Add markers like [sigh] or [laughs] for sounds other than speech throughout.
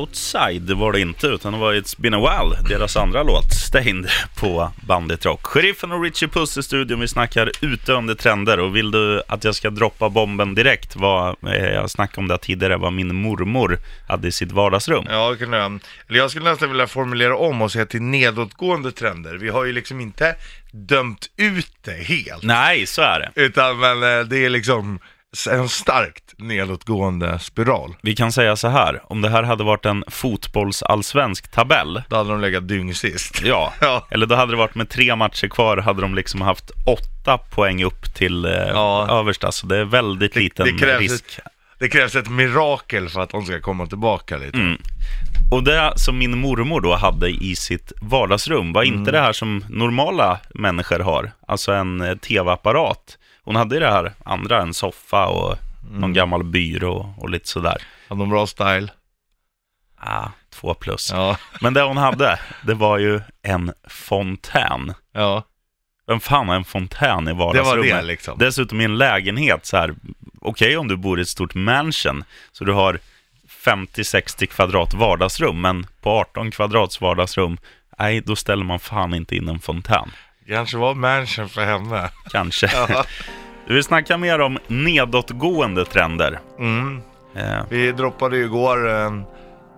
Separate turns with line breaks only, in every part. Outside var det inte, utan det var It's been a while, deras andra låt, Stained, på Bandit Rock. Sheriffen och Richie Puss i studion, vi snackar utdöende trender och vill du att jag ska droppa bomben direkt? Vad, eh, jag snackade om det här tidigare, vad min mormor hade i sitt vardagsrum.
Ja, det kan du göra. Eller jag skulle nästan vilja formulera om och säga till nedåtgående trender. Vi har ju liksom inte dömt ut det helt.
Nej, så är det.
Utan men eh, det är liksom s- en starkt nedåtgående spiral.
Vi kan säga så här, om det här hade varit en fotbollsallsvensk tabell,
Då hade de legat dyngsist.
ja,
Ja.
eller då hade det varit med tre matcher kvar, hade de liksom haft åtta poäng upp till eh,
Ja.
översta, så det är väldigt liten
[laughs] det krävs
risk.
Ett, det krävs ett mirakel för att de ska komma tillbaka lite.
Mm. Och det som min mormor då hade i sitt vardagsrum var inte det här som normala människor har, alltså en eh, tv-apparat. Hon hade ju det här andra, en soffa och någon gammal byrå och lite sådär.
Hade de bra style?
Ah, två plus.
Ja.
Men det hon hade, det var ju en fontän.
ja.
Vem fan har en fontän i
Det var
vardagsrummet?
det liksom.
Dessutom i en lägenhet så här, okej om du bor i ett stort mansion, så du har 50-60 kvadrat vardagsrum, men på 18 kvadrats vardagsrum, nej då ställer man fan inte in en fontän.
Kanske var mansion för henne.
Kanske.
[laughs] Ja.
Du vill snacka mer om nedåtgående trender.
Mm.
Eh,
Vi droppade ju igår eh,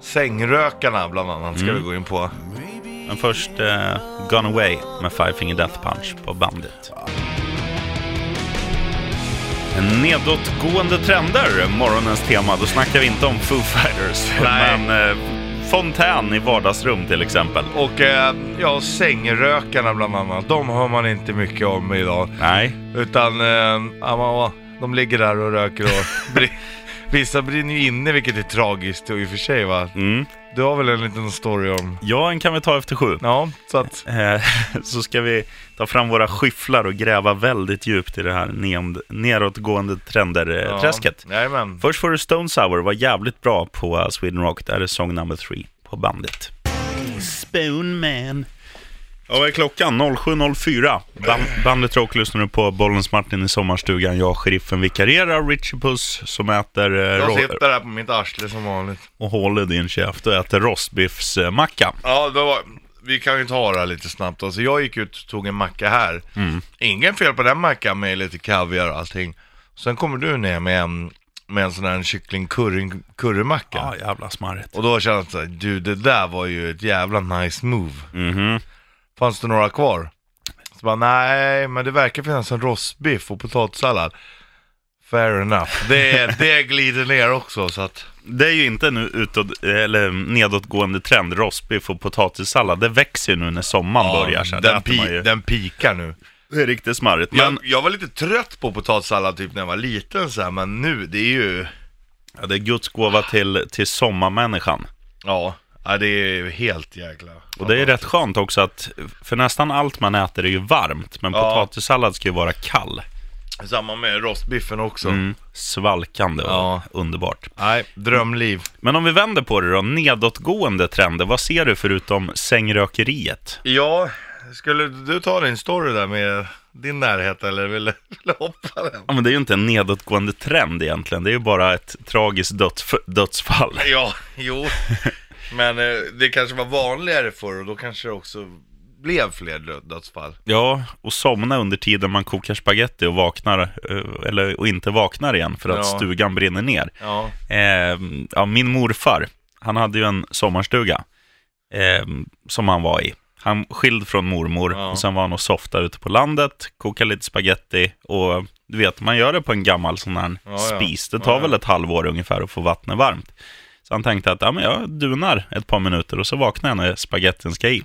sängrökarna bland annat,
Mm.
ska vi gå in på.
men först eh, Gone Away med Five Finger Death Punch på bandet. Nedåtgående trender, morgonens tema. Då snackar vi inte om Foo Fighters,
[laughs] Nej.
men eh, fontän i vardagsrum till exempel.
Och eh, ja, sängrökarna bland annat, de hör man inte mycket om idag.
Nej,
Utan eh, ja, man, de ligger där och röker och brin- vissa brinner ju inne vilket är tragiskt och i och för sig va.
mm.
Du har väl en liten story om...
ja, en kan vi ta efter sju.
Ja, så att...
Eh, [laughs] så ska vi ta fram våra skyfflar och gräva väldigt djupt i det här neond- nedåtgående eh,
Ja,
trender-träsket.
Jajamän.
Först får du Stone Sour, var jävligt bra på eh, Sweden Rock. Där är song number three på bandet. Spoonman. Ja, vad är klockan? 07.04. Ban- bandet Rock lyssnar nu på Bollens Martin i sommarstugan. Jag, sheriffen, vikarierar. Richie Puss som äter eh,
Jag
ro-
sitter här på mitt arsle som vanligt.
och håller din käft och äter rostbiffsmacka.
Ja, det var... Vi kan ju ta det här lite snabbt då. Så jag gick ut och tog en macka här.
Mm.
Ingen fel på den mackan med lite kaviar och allting. Sen kommer du ner med en, med en sån här kyckling curry, currymacka.
Ja, jävla smarrigt.
Och då kände jag såhär, du det där var ju ett jävla nice move.
Mhm.
Fanns det några kvar? Så bara, nej, men det verkar finnas en rostbiff och potatissallad. Fair enough. Det, det glider ner också så att...
Det är ju inte nu utåt, eller nedåtgående trend, rostbiff och potatissallad. Det växer ju nu när sommaren [laughs] börjar. Så här. Det
den,
äter man
pi-
ju.
den pikar nu.
Det är riktigt smarrigt. Men
Jag, jag var lite trött på potatissallad typ när jag var liten så här, men nu, det är ju...
Ja, det är Guds gåva till, till sommarmänniskan.
Ja, ja det är ju helt jäkla...
Och det är rätt skönt också att, för nästan allt man äter är ju varmt, men
Ja.
potatissallad ska ju vara kall.
Samma med rostbiffen också.
Mm. Svalkande och
Ja.
underbart.
Nej, drömliv.
Men om vi vänder på det då, nedåtgående trender, vad ser du förutom sängrökeriet?
Ja, skulle du ta din story där med din närhet eller vill vill du hoppa den?
Ja, men det är ju inte en nedåtgående trend egentligen, det är ju bara ett tragiskt dödsf- dödsfall.
Ja, jo. Men eh, det kanske var vanligare förr och då kanske det också blev fler dö- dödsfall.
Ja, och somna under tiden man kokar spaghetti och vaknar, eh, eller och inte vaknar igen för att
Ja.
stugan brinner ner.
Ja.
Eh, ja, min morfar, han hade ju en sommarstuga eh, som han var i. Han skild från mormor
Ja.
och sen var han och softa ute på landet, kokade lite spaghetti och du vet, man gör det på en gammal sån här
Ja, ja.
spis. Det tar
Ja, ja.
väl ett halvår ungefär att få vattnet varmt. Så han tänkte att ja, men jag dunar ett par minuter och så vaknar jag när spagettin ska i.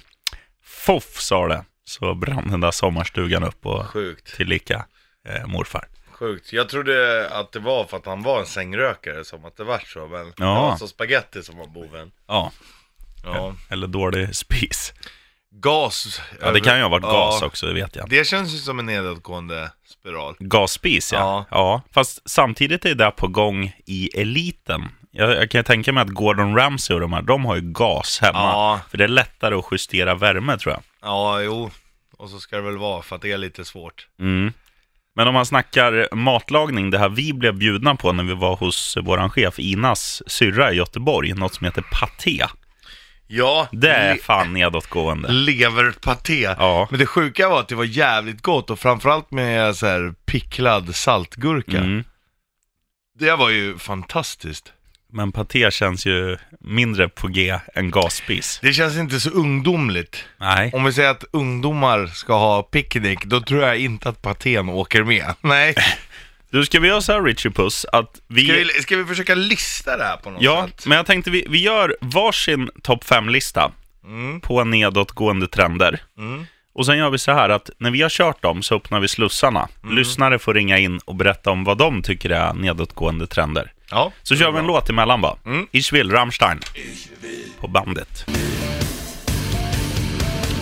Foff sa det, så brann den där sommarstugan upp och
Sjukt,
tillika eh, morfar.
sjukt. Jag trodde att det var för att han var en sängrökare som att det var så, men det var så spaghetti som var boven.
Ja,
Ja.
eller dålig spis.
Gas.
Ja, det kan ju ha varit
Ja.
gas också, det vet jag.
Det känns ju som en nedåtgående spiral.
Gasspis, ja. ja.
Ja.
Fast samtidigt är det där på gång i eliten. Jag, jag kan ju tänka mig att Gordon Ramsay och de här, de har ju gas hemma.
Ja.
För det är lättare att justera värme, tror jag.
Ja, jo. Och så ska det väl vara för att det är lite svårt.
Mm. Men om man snackar matlagning, det här vi blev bjudna på när vi var hos vår chef Inas syrra i Göteborg, något som heter paté.
Ja,
Det är fan nedåtgående.
leverpaté.
Ja.
Men det sjuka var att det var jävligt gott och framförallt med så här picklad saltgurka.
Mm.
Det var ju fantastiskt.
Men paté känns ju mindre på G än gaspis.
Det känns inte så ungdomligt.
Nej.
Om vi säger att ungdomar ska ha picknick, då tror jag inte att patén åker med. [laughs] Nej.
Du, ska vi göra så här Richie Puss, att vi...
Ska vi, ska vi försöka lista det här på något
Ja,
sätt?
men jag tänkte vi, vi gör varsin topp 5-lista
Mm.
på nedåtgående trender.
Mm.
Och sen gör vi så här att när vi har kört dem så öppnar vi slussarna. Lyssnare får ringa in och berätta om vad de tycker är nedåtgående trender.
Ja.
Så kör vi en låt emellan va?
Mm.
Ich will, Rammstein. På bandet.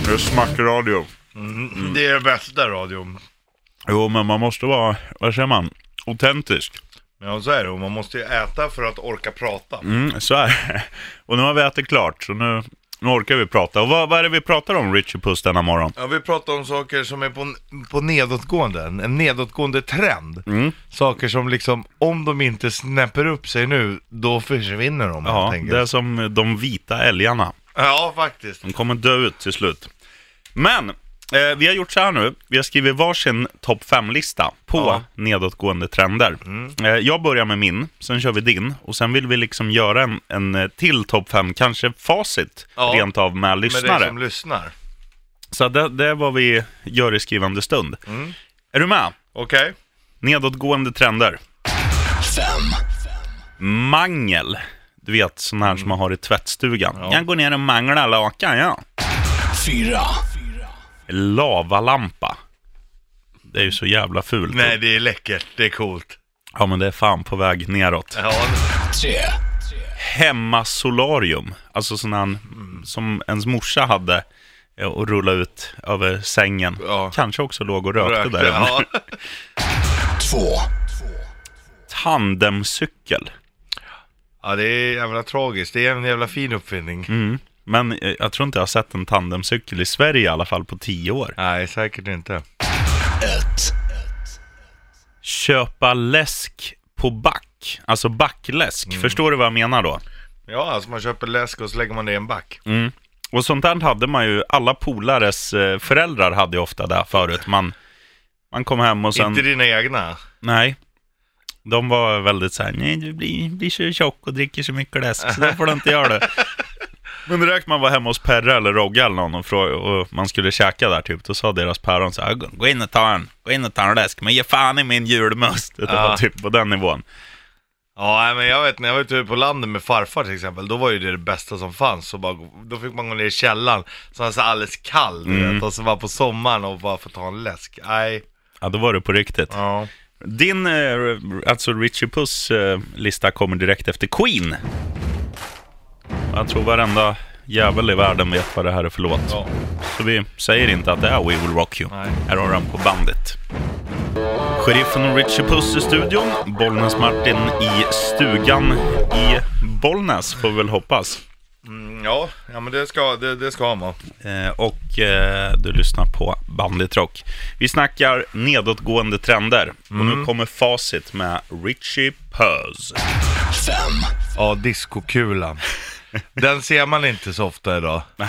Det är smackradio.
Mm. Det är det bästa radion.
Jo, men man måste vara, vad säger man, autentisk.
Ja, så är det. Och man måste ju äta för att orka prata.
Mm, så är det. [laughs] Och nu har vi ätit klart, så nu, nu orkar vi prata. Och vad, vad är det vi pratar om, Richie Puss, denna morgon?
Ja, vi pratar om saker som är på, på nedåtgående, en en nedåtgående trend.
Mm.
Saker som liksom, om de inte snäpper upp sig nu, då försvinner de
Ja,
helt enkelt.
det är som de vita älgarna.
Ja, faktiskt.
De kommer dö ut till slut. Men, eh, vi har gjort så här nu. Vi har skrivit varsin topp 5-lista på
Ja. Mm.
nedåtgående trender. Eh, jag börjar med min, sen kör vi din. Och sen vill vi liksom göra en, en eh, till topp 5, kanske facit
Ja.
rent av med
Med
lyssnare.
dig som lyssnar.
Så det, det är vad vi gör i skrivande stund.
Mm.
Är du med?
Okej.
Nedåtgående trender. Mangel. Du vet, sån
Mm.
här som man har i tvättstugan. Jag går ner och manglar lakan, ja.
Fyra.
Lavalampa. Det är ju så jävla fult.
Nej, det är läckert. Det är coolt.
Ja, men det är fan på väg neråt.
Ja,
Tre.
Hemmasolarium. Alltså sån här
Mm.
som ens morsa hade eh, och rulla ut över sängen.
Ja.
Kanske också låg och rökte,
rökte.
där.
Ja.
Två.
Tandemcykel.
ja, det är jävla tragiskt. Det är en jävla fin uppfinning.
Men eh, jag tror inte jag har sett en tandemcykel i Sverige i alla fall på tio år.
Nej, säkert inte.
Ett.
Köpa läsk på back. Alltså backläsk.
Mm.
Förstår du vad jag menar då?
Ja, alltså man köper läsk och så lägger man det i en back.
Och sånt där hade man ju, alla polares eh, föräldrar hade ju ofta det här förut. Man, man kom hem och sen,
Inte dina egna.
nej. De var väldigt såhär, nej du blir, blir så tjock och dricker så mycket läsk så då får du inte göra
[laughs]
det. Men direkt man var hemma hos Perra eller Rogge eller någon och, fråga, och man skulle käka där typ, då sa deras päron så här, "Gå- gå in och ta en, gå in och ta en läsk, men ge fan i min julmust. Det var
Ja.
typ på den nivån.
Ja, nej, men jag vet när jag var ute på landet med farfar till exempel, då var ju det det bästa som fanns. Så bara, då fick man gå ner i källaren, så han var så alldeles kall, du vet. Och så bara på sommaren och bara få ta en läsk. Nej,
Ja, då var det på riktigt.
ja.
Din, eh, alltså Richie Puss eh, lista kommer direkt efter Queen. Jag tror varenda jävel i världen vet vad det här är för låt.
ja.
Så vi säger inte att det är We Will Rock You.
Nej.
Här har den på bandet. Sheriffen och Richie Puss i studion. Bollnäs-Martin i stugan i Bollnäs, får vi väl hoppas.
Mm, ja, ja men det ska, det, det ska man.
Eh, och eh, du lyssnar på Bandit Rock. Vi snackar nedåtgående trender. Och nu
Mm.
kommer facit med Richie Puss.
Fem.
Ja, diskokulan. [laughs] Den ser man inte så ofta idag.
Nej.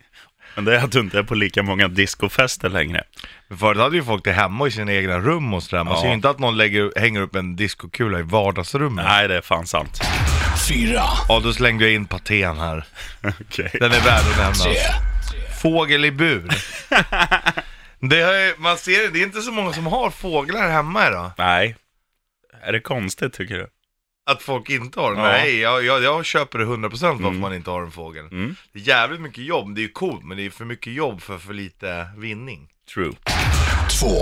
[laughs] Men det är att du inte är på lika många discofester längre.
Men Förut hade ju folk det hemma i sina egna rum och sådär. Man
Ja.
ser ju inte att någon lägger, hänger upp en diskokula i vardagsrummet.
Nej, det är fan sant. [laughs]
Fyra.
Ja, då slängde jag in patén här.
Okej.
Den är värd att nämnas.
Tre.
Fågel
[laughs]
i bur. det, är, man ser, det det är inte så många som har fåglar hemma idag.
Nej. Är det konstigt, tycker du?
Att folk inte har den?
Ja. Mm.
Nej, jag, jag, jag köper det 100% varför man inte har en fågel. Det är jävligt mycket jobb, det är ju coolt, men det är för mycket jobb för för lite vinning.
True.
Två.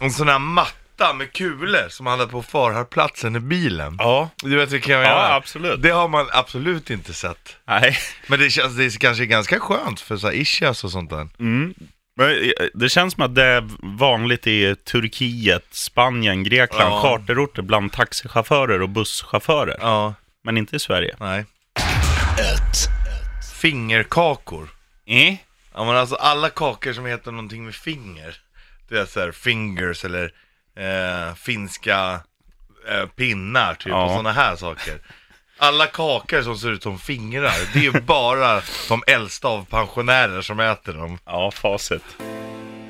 En sån här matta med kulor som han hade på förarplatsen i bilen.
Ja.
Du vet vilken jag
Ja,
menar?
absolut.
Det har man absolut inte sett.
Nej. [laughs]
Men det känns, det är kanske ganska skönt för så här ischias och sånt där.
Mm. Men eh, det känns som att det är vanligt i Turkiet, Spanien, Grekland,
Ja.
charterorter bland taxichaufförer och busschaufförer.
Ja,
Men inte i Sverige.
nej.
Ett.
Fingerkakor.
Eh?
Eh? Ja men alltså alla kakor som heter någonting med finger. du vet, så här, fingers eller eh, finska eh, pinnar typ
Ja.
och sådana här saker. Alla kakor som ser ut som fingrar, det är ju bara de äldsta av pensionärer som äter dem.
Ja, facit.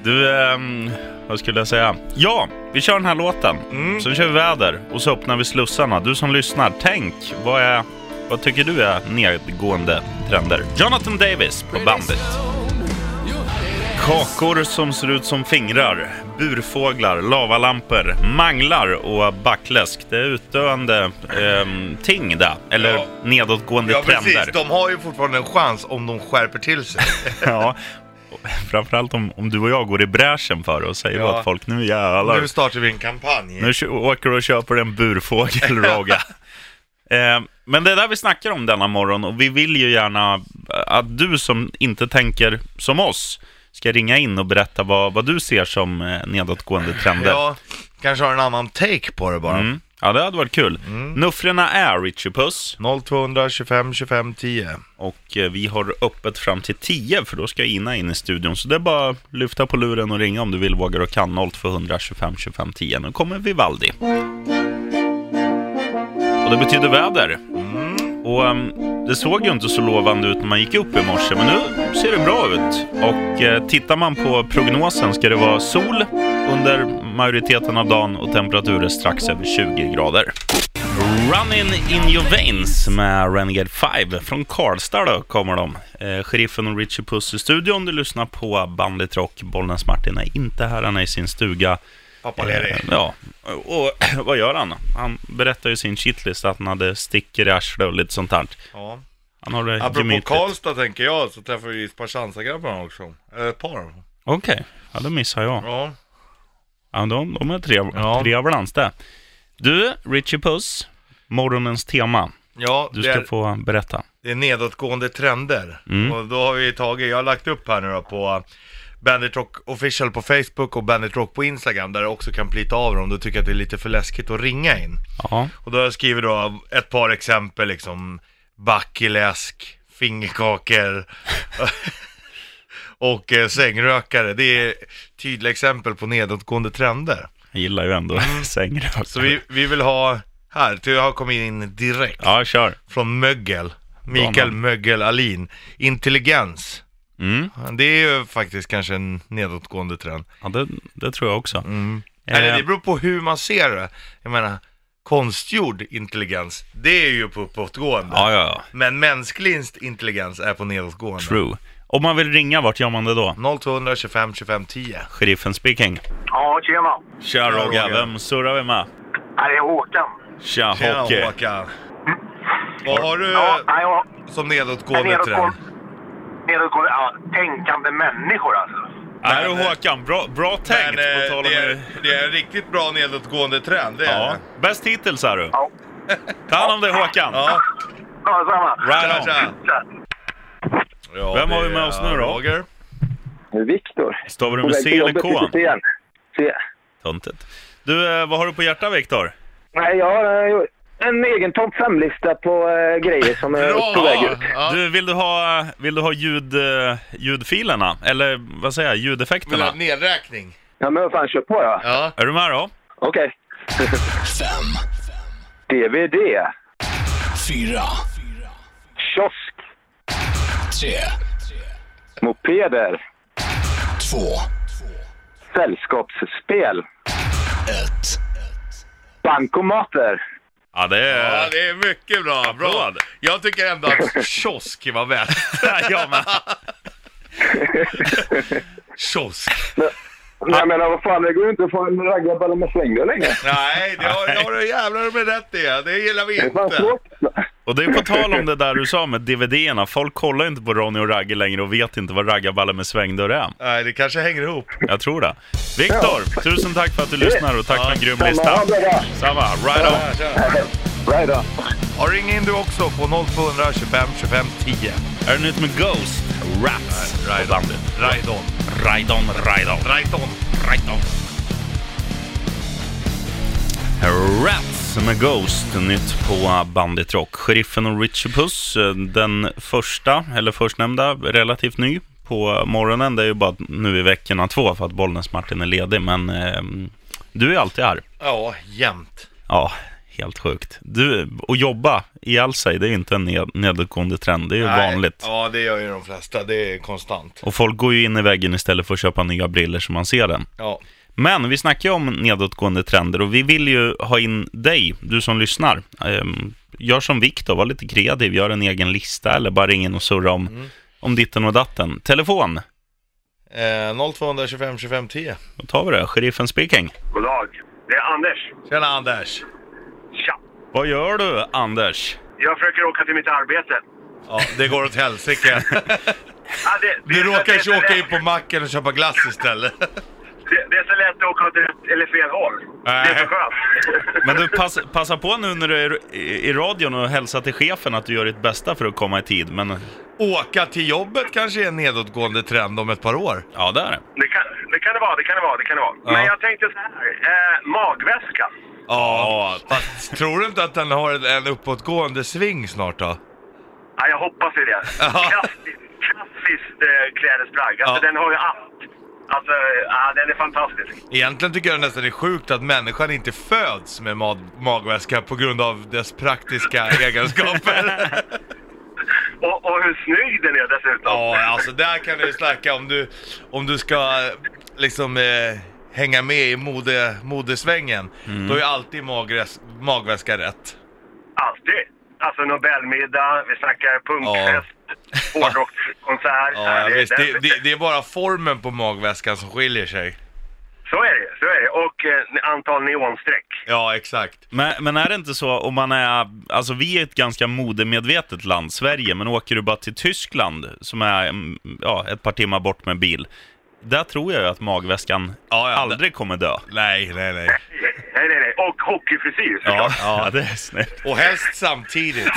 Du, ehm, vad skulle jag säga? Ja, vi kör den här låten.
Mm.
Sen kör vi väder och så öppnar vi slussarna. Du som lyssnar, tänk, vad, är, vad tycker du är nedgående trender? Jonathan Davis på Bandit. Kakor som ser ut som fingrar, burfåglar, lavalampor, manglar och backläsk. Det är utdöende ehm, ting där, eller
Ja.
nedåtgående
Ja precis,
trender.
de har ju fortfarande en chans om de skärper till sig.
[laughs] Ja, framförallt om, om du och jag går i bräschen för det och säger
Ja.
åt folk nu jävlar.
Nu
Nu,
startar vi en kampanj.
kö- åker du och köper en
[laughs]
burfågel, Roga. eh, men det är där vi snackar om denna morgon och vi vill ju gärna att du som inte tänker som oss ska ringa in och berätta vad, vad du ser som eh, nedåtgående trender. Ja.
Ja, kanske har en annan take på det bara.
Mm. ja, det hade varit kul.
Mm.
Nuffrorna är Richie Puss
0200 25 25 10.
och eh, vi har öppet fram till 10 för då ska Ina in i studion. Så det är bara att lyfta på luren och ringa om du vill, vågar och kan. 0200 25 25 10. Nu kommer Vivaldi. Och det betyder väder. Och ehm, det såg ju inte så lovande ut när man gick upp i morse, men nu ser det bra ut. Och eh, tittar man på prognosen ska det vara sol under majoriteten av dagen och temperaturer strax över 20 grader. Running in your veins med Renegade 5 från Karlstad då kommer de. Eh, sheriffen och Richie Puss i studion. Du lyssnar på Bandit Rock. Bollnäs Martin är inte här, han är i sin stuga. Eh,
Pappa ledig.
Ja, och [clears throat] vad gör han? Han berättar ju sin shitlist att han hade stickor i arslet och lite sånt här.
Ja.
Han har eh, det
Apropå
gemytligt.
Karlstad tänker jag så träffar vi Sparsansa-grabbarna också. Eller ett par av dem.
Okej, ja då missar jag.
Ja.
Ja, de, de är trev-
Ja.
trevlans det. Du, Richie Puss, morgonens tema.
Ja,
Du
det,
ska
är,
få Mm. berätta.
det är nedåtgående trender. Och då har vi tagit, jag har lagt upp här nu då på uh, Bandit Rock official på Facebook och Bandit Rock på Instagram där du också kan plita av dem. Du tycker att det är lite för läskigt att ringa in.
Ja,
Och då har jag skrivit då ett par exempel liksom Backeläsk, fingerkakor [laughs] och eh, sängrökare. Det är tydliga exempel på nedåtgående trender.
jag gillar ju ändå [laughs] sängrök.
Mm. Så vi, vi vill ha, här, till jag har kommit in direkt
Ja, kör.
från Mögel. Mikael Mögel Alin. Intelligens.
Mm.
Det är ju faktiskt kanske en nedåtgående trend.
Ja, det, det tror jag också. Eh,
Eller det beror på hur man ser det. Jag menar, konstgjord intelligens, det är ju på uppåtgående.
ja, ja, ja.
Men mänsklig inst- intelligens är på nedåtgående.
True. Om man vill ringa, vart gör man det då?
0200 25 25 10.
Sheriffen speaking.
Ja, tjena.
Tja, Rogga.
Roger.
Vem surrar vi med?
Nej, det är Håkan.
Tja,
Tjena
Hockey.
Håkan. Vad har
Eh,
du
Ja, nej, ja.
som
En
nedåtgående trend?
nedåtgående... Nedåtgående... Ja, tänkande människor alltså.
Nej, du
Men, eh,
Håkan. Bra, bra
Men,
tänkt,
eh,
på tal om...
det,
hur-
är, det är en riktigt bra nedåtgående trend, det är
Ja.
det.
Bäst hittills, är du.
Ja,
Ta hand om dig, Håkan.
Ja.
ja samma.
Right
Tja,
on.
tja.
Så.
Ja,
Vem har vi
det
med oss
är
nu då?
Roger.
Viktor.
Stavar du med C eller K?
Igen. C.
Tuntet. Du, eh, vad har du på hjärtat, Viktor?
Nej, jag har eh, en egen topp 5-lista på eh, grejer som är
Bra!
på väg ut.
Ja.
Du, vill du ha, vill du ha ljud, eh, ljudfilerna? Eller vad säger jag,
Vill du ha
ljudeffekterna?
nedräkning?
Ja, men vad fan, kör på då.
Ja.
Är du med då?
Okej. [laughs]
fem,
DVD,
fyra,
kiosk,
tre,
mopeder,
två,
sällskapsspel,
ett.
bankomater.
Ja, det är...
ja, det är mycket bra. bra.
Applåd.
Jag tycker ändå att kiosk var väl.
[laughs] jag med.
Kiosk.
Nej,
Ah.
men vad fan, det går ju inte att få en raggarballe med slängdörr längre.
Nej, det har, det har du jävlar med rätt i. Det gillar vi
Det är fan
inte.
svårt.
Och det är på tal om det där du sa med DVD-erna. Folk kollar inte på Ronny och Ragge längre och vet inte vad raggarballe med svängdörr är.
Nej, det kanske hänger ihop.
Jag tror det. Viktor, tusen tack för att du lyssnar och tack för en grym lista.
Ja, bra, bra.
Samma, right on.
Bra idag.
Ja, ring in du också på 0200 25 25 10.
Är det nytt med Ghost? Raps på
Right on.
bandet.
Right on.
Right on, right on.
Right on.
Right on. Rats med Ghost, nytt på Bandit Rock. Sheriffen och Richie Puss, eh, den första, eller förstnämnda, relativt ny på morgonen. Det är ju bara nu i veckorna två för att Bollnäs-Martin är ledig. Men eh, du är alltid här.
Ja, jämt.
Ja, helt sjukt. Du, att jobba ihjäl sig, det är ju inte en ned- nedåtgående trend. Det är ju vanligt.
Ja, det gör ju de flesta. Det är konstant.
Och folk går ju in i väggen istället för att köpa nya briller så man ser den.
Ja.
Men vi snackar ju om nedåtgående trender och vi vill ju ha in dig, du som lyssnar. Ehm, Gör som Viktor, var lite kreativ, gör en egen lista eller bara ring in och surra om, om ditten och datten. Telefon,
Eh, 0225 25 10.
då tar vi det. Sheriffen speaking.
God dag. Det är Anders.
Tjena Anders!
Tja.
Vad gör du, Anders?
Jag försöker åka till mitt arbete.
Ja, det går åt helsike.
Ja, det, det
Du
är så-
råkar
det är så
ju åka
lätt-
in på macken och köpa glass istället.
Det, det är så lätt att åka åt rätt eller fel håll. Det är
Nej.
så
[laughs]
skönt.
Men du, pass, passa på nu när du är i i radion och hälsa till chefen att du gör ditt bästa för att komma i tid. Men
Åka till jobbet kanske är en nedåtgående trend om ett par år.
ja, det är det.
Det kan, det kan det vara, det kan det vara, det kan det vara.
Ja.
Men jag tänkte så här. Eh, magväska.
Ja, fast tror du inte att den har en- en uppåtgående sving snart då?
Ja, jag hoppas ju det.
Ja.
Klassiskt, klassiskt eh, klädesplagg. Alltså
Ja.
den har ju allt. Alltså, ja, den är fantastisk.
Egentligen tycker jag nästan det är sjukt att människan inte föds med mag- magväska på grund av dess praktiska [laughs] egenskaper.
Och, och hur snygg den är dessutom.
Ja, alltså där kan du ju snacka om du, om du ska eh, liksom eh, hänga med i mode, modesvängen. Då är alltid magres, magväska rätt.
Alltid. Alltså Nobelmiddag, vi snackar punkfest, hårdrockskonsert.
Ja,
Nej, det-
visst.
den-
Det, det, det är bara formen på magväskan som skiljer sig.
Så är det, så är det. Och eh, antal neonstreck.
Ja, exakt.
Men, men är det inte så om man är, alltså vi är ett ganska modemedvetet land, Sverige, men åker du bara till Tyskland som är mm, ja, ett par timmar bort med bil, där tror jag ju att magväskan
Ja, ja,
aldrig kommer dö.
Nej, nej, nej.
Nej, nej, nej. Och hockeyfrisyr såklart.
[laughs] ja det är snyggt.
Och helst samtidigt.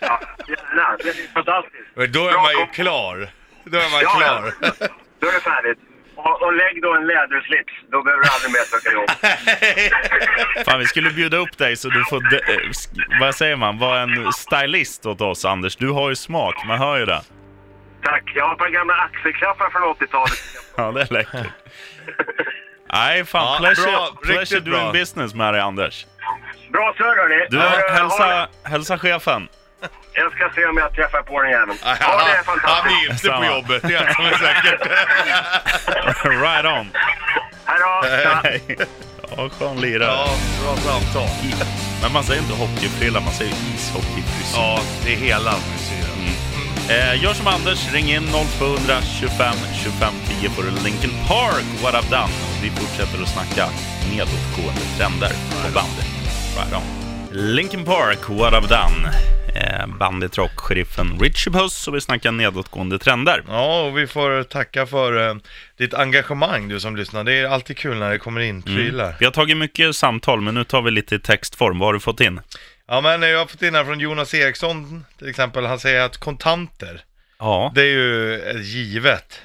Ja. Gärna. Det är fantastiskt.
Men då är
Bra
man ju
kom-
klar. Då är man
Ja,
klar. [laughs]
ja. Då är det färdigt. Och, och lägg då en läderslips. Då behöver du aldrig mer söka jobb.
Fan, vi skulle bjuda upp dig så du får, de, eh, sk- vad säger man, vara en stylist åt oss Anders. Du har ju smak, man hör ju det.
Tack. Jag har ett par gamla axelklaffar från 80-talet.
Ja, det är läckert. Nej, fan,
Ja,
pleasure,
bra.
pleasure
Riktigt
doing
bra.
business med dig Anders.
Bra surr hörni.
Du,
Ja, ha
hälsa,
det.
hälsa chefen. [laughs]
Jag ska se om jag träffar på den jäveln. Ja, det är
Han
fantastiskt.
är inte på
Samma.
jobbet, det är han som är
[laughs]
säkert.
right on.
Hej då. Tja.
Nej. Ja, skön lirare.
Ja, bra samtal.
Men man säger inte hockeyfrilla, man säger ishockeyfrisyr.
Ja, det är hela frisyren.
Eh, gör som Anders, ring in 0200 25 25 10 på Linkin Park, What I've Done. Och vi fortsätter att snacka nedåtgående trender på bandet. Right on. Linkin Park, What I've Done. Eh, Bandit Rock, sheriffen Richie Puss och vi snackar nedåtgående trender.
Ja, och vi får tacka för eh, ditt engagemang du som lyssnar. Det är alltid kul när det kommer
Mm.
in prylar.
Vi har tagit mycket samtal, men nu tar vi lite i textform. Vad har du fått in?
Ja, men eh, jag har fått in här från Jonas Eriksson till exempel. Han säger att kontanter,
Ja.
det är ju ett givet,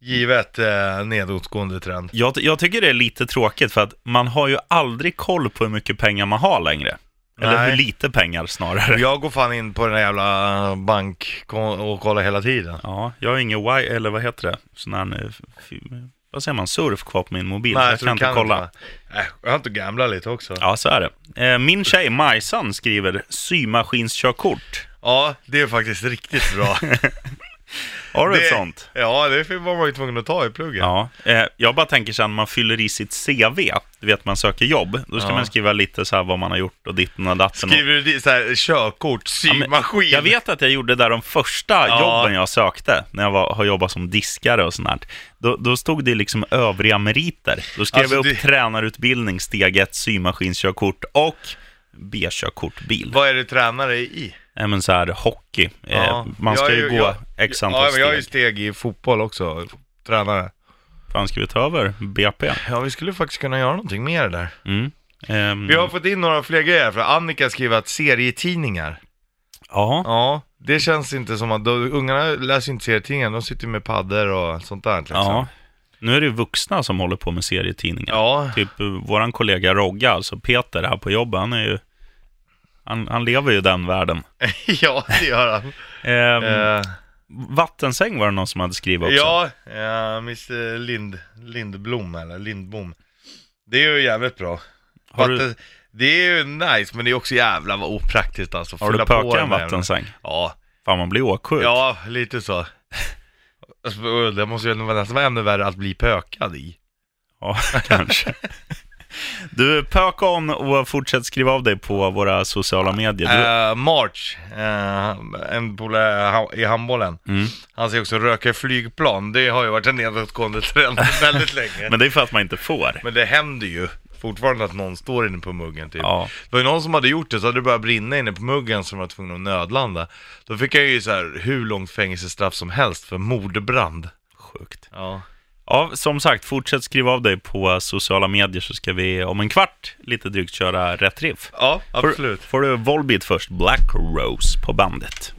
givet eh, nedåtgående trend.
Jag, jag tycker det är lite tråkigt för att man har ju aldrig koll på hur mycket pengar man har längre. Eller
Nej.
hur lite pengar snarare.
Och Jag går fan in på den här jävla bank och kollar hela tiden.
Ja, jag har ingen wi eller vad heter det? Sån här, eh, f- vad säger man, surf kvar på min mobil. så jag
så
kan
du
inte kolla.
inte. Äh, jag har inte gambla lite också. Ja.
Ja, så är det. Eh, Min tjej Majsan skriver symaskinskörkort.
det är faktiskt
[laughs]
riktigt bra.
Har du
det,
ett sånt?
Ja, det var man ju tvungen att ta i plugget.
Ja, eh, jag bara tänker sen när man fyller i sitt CV, du vet man söker jobb, då ska
Ja.
man skriva lite så här vad man har gjort och ditten och datten. och-
Skriver du dit så här, körkort, symaskin?
Jag vet att jag gjorde det där de första
Mm, Ja.
jobben jag sökte, när jag var, har jobbat som diskare och sånt här. Då, då stod det liksom övriga meriter. Då skrev
Alltså,
jag upp
det-
tränarutbildning, steg 1, symaskinskörkort och B-körkort bil.
Vad är du tränare i?
Nej, men så här hockey. Eh,
Ja.
man ska
Jag är
ju gå x antal
ja, men
steg.
Jag är ju steg i fotboll också, tränare.
Fan, ska vi ta över BP?
Ja, vi skulle faktiskt kunna göra någonting mer där.
Mm. Ehm,
Vi har fått in några fler grejer här, för Annika skriver att serietidningar
ja.
Ja, det känns inte som att, då, ungarna läser inte serietidningar, de sitter med paddor och sånt där liksom.
ja. Nu är det ju vuxna som håller på med serietidningar.
Ja, [laughs]
Typ eh, våran kollega Rogga, alltså Peter här på jobbet, han är ju... Han, han lever ju i den världen.
[laughs] ja det gör han.
Ehm,
Eh,
vattensäng var det någon som hade skrivit också.
Ja, ja Mr Lind, Lindblom eller Lindbom. Det är ju jävligt bra.
Har du-
Vatten, Det är ju nice, men det är också jävla opraktiskt alltså.
Har du
Fylla på
pökat en
den här.
vattensäng?
Ja,
Fan, man blir åksjuk.
ja lite
[laughs]
så. Alltså, Det måste ju vara nästan vara ännu värre att bli pökad i.
Ja, [laughs] kanske. Du, pöka on och fortsätt skriva av dig på våra sociala medier. Du,
[laughs] Eh, March, eh, en polare ha- i handbollen.
Mm.
Han säger också röka i flygplan. Det har ju varit en nedåtgående trend
[laughs]
väldigt länge. men,
men det är för att man inte får.
det händer ju fortfarande att någon står inne på muggen typ.
Ja.
Det var ju någon som hade gjort det så hade det börjat brinna inne på muggen som var tvungen att nödlanda. Då fick jag ju så här hur långt fängelsestraff som helst för mordbrand.
Sjukt.
Ja.
Ja, som sagt, fortsätt skriva av dig på sociala medier så ska vi om en kvart lite drygt köra rätt riff.
Ja,
Får-
absolut.
Får du Volbeat först, Black Rose på bandet.